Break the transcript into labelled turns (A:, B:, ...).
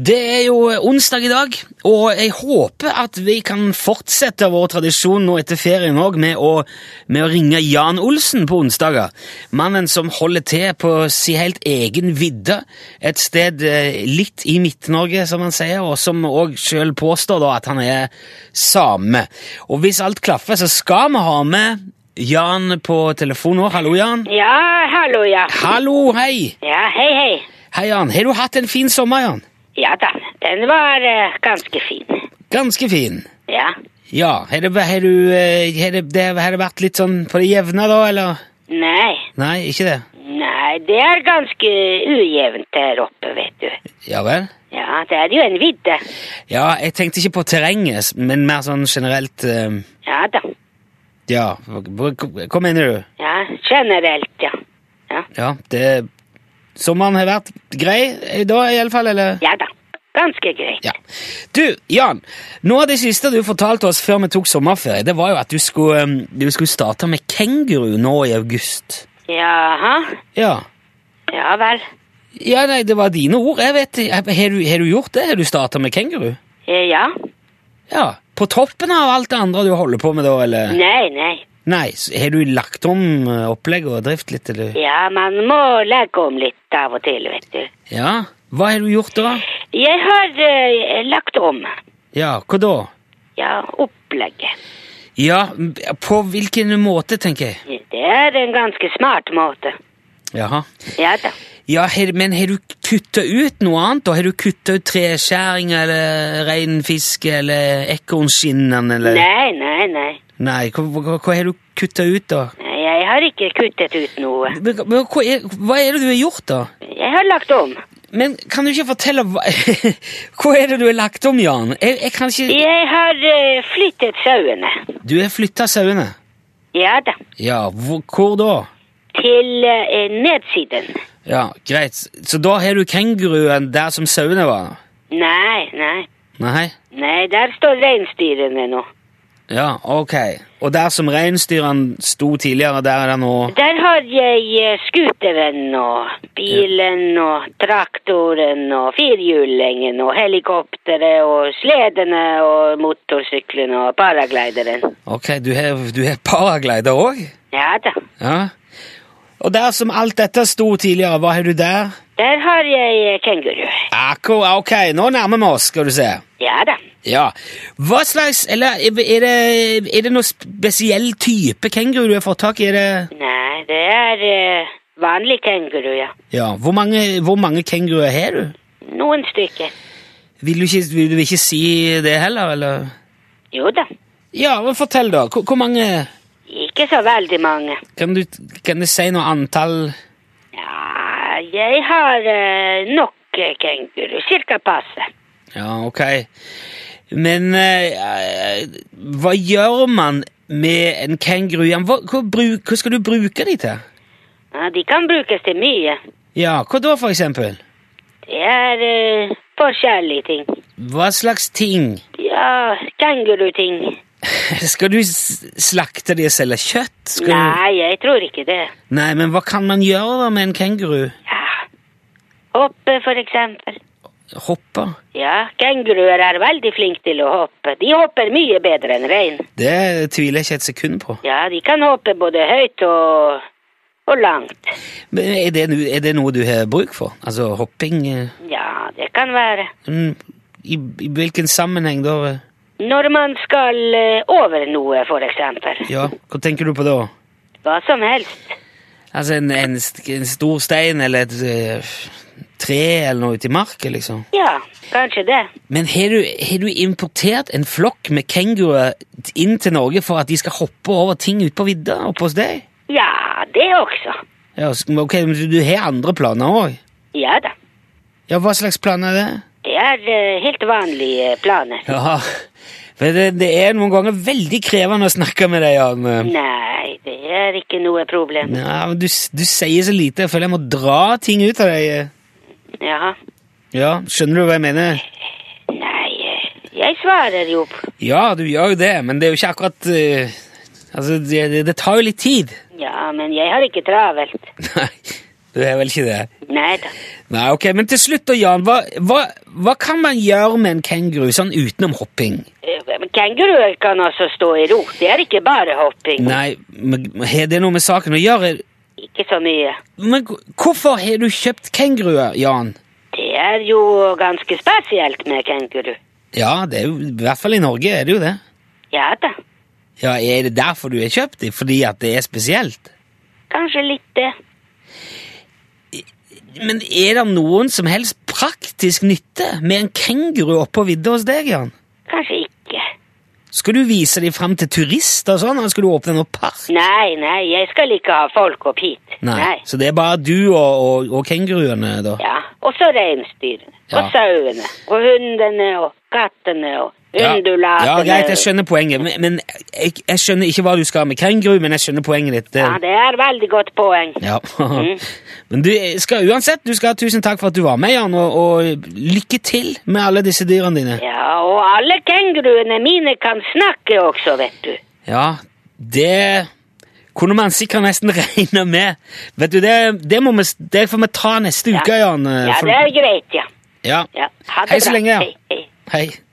A: Det er jo eh, onsdag i dag, og jeg håper at vi kan fortsette vår tradisjon nå etter ferien òg med, å- med å ringe Jan Olsen på onsdager. Mannen som holder til på si helt egen vidde, et sted eh, litt i Midt-Norge, som han sier, og som òg sjøl påstår da at han er same. Og hvis alt klaffer, så skal vi ha med Jan på telefon nå. Hallo, Jan.
B: Ja, hallo, ja.
A: Hallo, hei!
B: Ja, hei, hei.
A: Hei, Jan. Har du hatt en fin sommer, Jan?
B: Ja da, den var eh, ganske fin.
A: Ganske fin.
B: Ja.
A: Ja, har det, har du, eh, har det, det, har det vært litt sånn på det jevne da, eller?
B: Nei,
A: Nei, ikke det?
B: nei, det er ganske ujevnt her oppe, vet du.
A: Ja vel?
B: Ja, det er jo en vidde.
A: Ja, jeg tenkte ikke på terrenget, s- men mer sånn generelt, eh,
B: Ja da.
A: ja, hva, hva hva mener du?
B: Ja, generelt, ja. Ja,
A: Ja, det, sommeren har vært grei eh, da i alle fall, eller?
B: ja da. Ganske greit.
A: Ja. Du, Jan, noe av det siste du fortalte oss før vi tok sommerferie, det var jo at du skulle, eh, du skulle starte med kenguru nå i august.
B: Jaha.
A: Ja.
B: Ja vel.
A: Ja, nei, det var dine ord, jeg vet ikke. Har du, har du gjort det? Har du startet med kenguru?
B: Eh, Ja.
A: Ja, På toppen av alt det andre du holder på med, da? eller?
B: Nei, nei.
A: Nei, s- Har du lagt om eh, opplegg og drift litt? eller?
B: Ja, man må legge om litt av og til, vet du.
A: Ja? Hva har du gjort da?
B: Jeg har eh, lagt om,
A: Ja, hva da?
B: ja, opplegget.
A: Ja, m- På hvilken måte, tenker jeg?
B: Det er en ganske smart måte.
A: Jaha.
B: Ja da.
A: Ja, har, Men har du kutta ut noe annet? da? Har du kutta ut treskjæring eller reinfiske eller ekornskinnene? eller?
B: Nei, nei, nei.
A: Nei, hva, hva, hva har du kutta ut, da?
B: Nei, Jeg har ikke kuttet ut noe.
A: Men, men hva, er, hva er det du har gjort, da?
B: Jeg har lagt om.
A: Men kan du ikke fortelle hva, hva er det du har lagt om, Jan? Jeg, jeg kan ikke
B: Jeg har eh, flyttet sauene.
A: Du har flytta sauene?
B: Ja da.
A: Ja, hvor, hvor da?
B: Til eh, nedsiden.
A: Ja, greit. Så da har du kenguruen der som sauene var?
B: Nei, nei.
A: Nei?
B: Nei, der står reinsdyrene nå.
A: Ja, ok. Og der som reinsdyrene sto tidligere, der er det nå
B: Der har jeg eh, skuteren og bilen og traktoren og firhjulingen og helikopteret og sledene og motorsyklene og paraglideren.
A: Ok, du har, du har paraglider òg?
B: Ja da.
A: Ja. Og der som alt dette sto tidligere, hva har du der?
B: Der har jeg eh, kenguru.
A: Akkurat, ok, nå nærmer vi oss, skal du se.
B: Ja da.
A: Ja. Hva slags Eller er er det, er det noen spesiell type kenguru du har fått tak i? Er det,
B: Nei, det er eh, vanlig kenguru, ja.
A: ja, Hvor mange, hvor mange kenguruer har du?
B: Noen stykker.
A: Vil du, ikke, vil du ikke si det heller, eller?
B: Jo da.
A: Ja, men fortell, da. Hvor, hvor mange
B: Ikke så veldig mange.
A: Kan du, kan du si noe antall
B: Ja, jeg har eh, nok eh, kenguru. Cirka passe.
A: Ja, ok. Men eh, hva gjør man med en kenguru? Jan? Hva, hva, bruk, hva skal du bruke de til?
B: Ja, de kan brukes til mye.
A: Ja, hva da, for eksempel?
B: Det er eh, forskjellige ting.
A: Hva slags ting?
B: Ja, kenguruting.
A: Skal du s- slakte de og selge kjøtt? Skal du...
B: Nei, jeg tror ikke det.
A: Nei, men hva kan man gjøre da med en kenguru?
B: Ja. Hoppe, for eksempel.
A: Hoppe?
B: Ja, kenguruer er veldig flinke til å hoppe. De hopper mye bedre enn rein.
A: Det tviler jeg ikke et sekund på.
B: Ja, de kan hoppe både høyt og, og langt.
A: Men er det, nu- er det noe du har bruk for? Altså hopping eh,
B: Ja, det kan være.
A: mm, i, I hvilken sammenheng da? eh?
B: Når man skal eh, over noe, for eksempel.
A: Ja, hva tenker du på da?
B: Hva som helst.
A: Altså en, en, st- en stor stein eller et eh, tre eller noe ute i marken, liksom?
B: Ja, kanskje det.
A: Men har du, har du importert en flokk med kenguruer inn til Norge for at de skal hoppe over ting ute på vidda oppe hos deg?
B: Ja, det også.
A: Ja, s- men ok, men du, du har andre planer òg?
B: Ja da.
A: Ja, hva slags planer er det?
B: Det er eh, helt vanlige planer.
A: Ja, for det, det er noen ganger veldig krevende å snakke med deg, Jan. eh.
B: Nei, det er ikke noe problem.
A: Ja, men du, s- du sier så lite, jeg føler jeg må dra ting ut av deg.
B: Jaha.
A: Ja, skjønner du hva jeg mener?
B: Nei, eh, jeg svarer jo. på-
A: Ja, du gjør jo det, men det er jo ikke akkurat eh, Altså, det, det, det tar jo litt tid.
B: Ja, men jeg har ikke travelt.
A: Nei, du er vel ikke det.
B: Nei da.
A: Nei, ok, Men til slutt, da, Jan. Hva, hva, hva kan man gjøre med en kenguru sånn utenom hopping?
B: Eh, men Kenguruer kan altså stå i ro. Det er ikke bare hopping.
A: Nei, men Har det noe med saken å gjøre?
B: Ikke så mye.
A: Men g- hvorfor har du kjøpt kenguruer, Jan?
B: Det er jo ganske spesielt med kenguru.
A: Ja, det er jo, i hvert fall i Norge er det jo det.
B: Ja da.
A: Ja, Er det derfor du har kjøpt dem? Fordi at det er spesielt?
B: Kanskje litt det.
A: Men er det noen som helst praktisk nytte med en kenguru oppå vidda hos deg, Jan?
B: Kanskje ikke.
A: Skal du vise dem fram til turister og sånn, eller skal du åpne noen park?
B: Nei, nei, jeg skal ikke ha folk opp hit.
A: Så det er bare du og, og, og kenguruene, da?
B: Ja. Og så reinsdyrene.
A: Ja.
B: Og sauene. Og hundene og kattene og undulatene.
A: Ja, greit, jeg skjønner poenget, men, men jeg, jeg skjønner ikke hva du skal med kenguru, men jeg skjønner poenget ditt. det- Mm.
B: Ja, det er veldig godt poeng.
A: Ja. Men du skal uansett, du skal ha tusen takk for at du var med, Jan, og, og lykke til med alle disse dyrene dine.
B: Ja, og alle kenguruene mine kan snakke også, vet du.
A: Ja, det kunne man sikkert nesten regne med. Vet du, det, det, må vi, det får vi ta neste uke, Jan. eh,
B: Ja,
A: for-
B: det er greit, ja.
A: ja.
B: ja. Ha det
A: Hei så
B: bra.
A: lenge, ja.
B: Hei, hei.
A: Hei.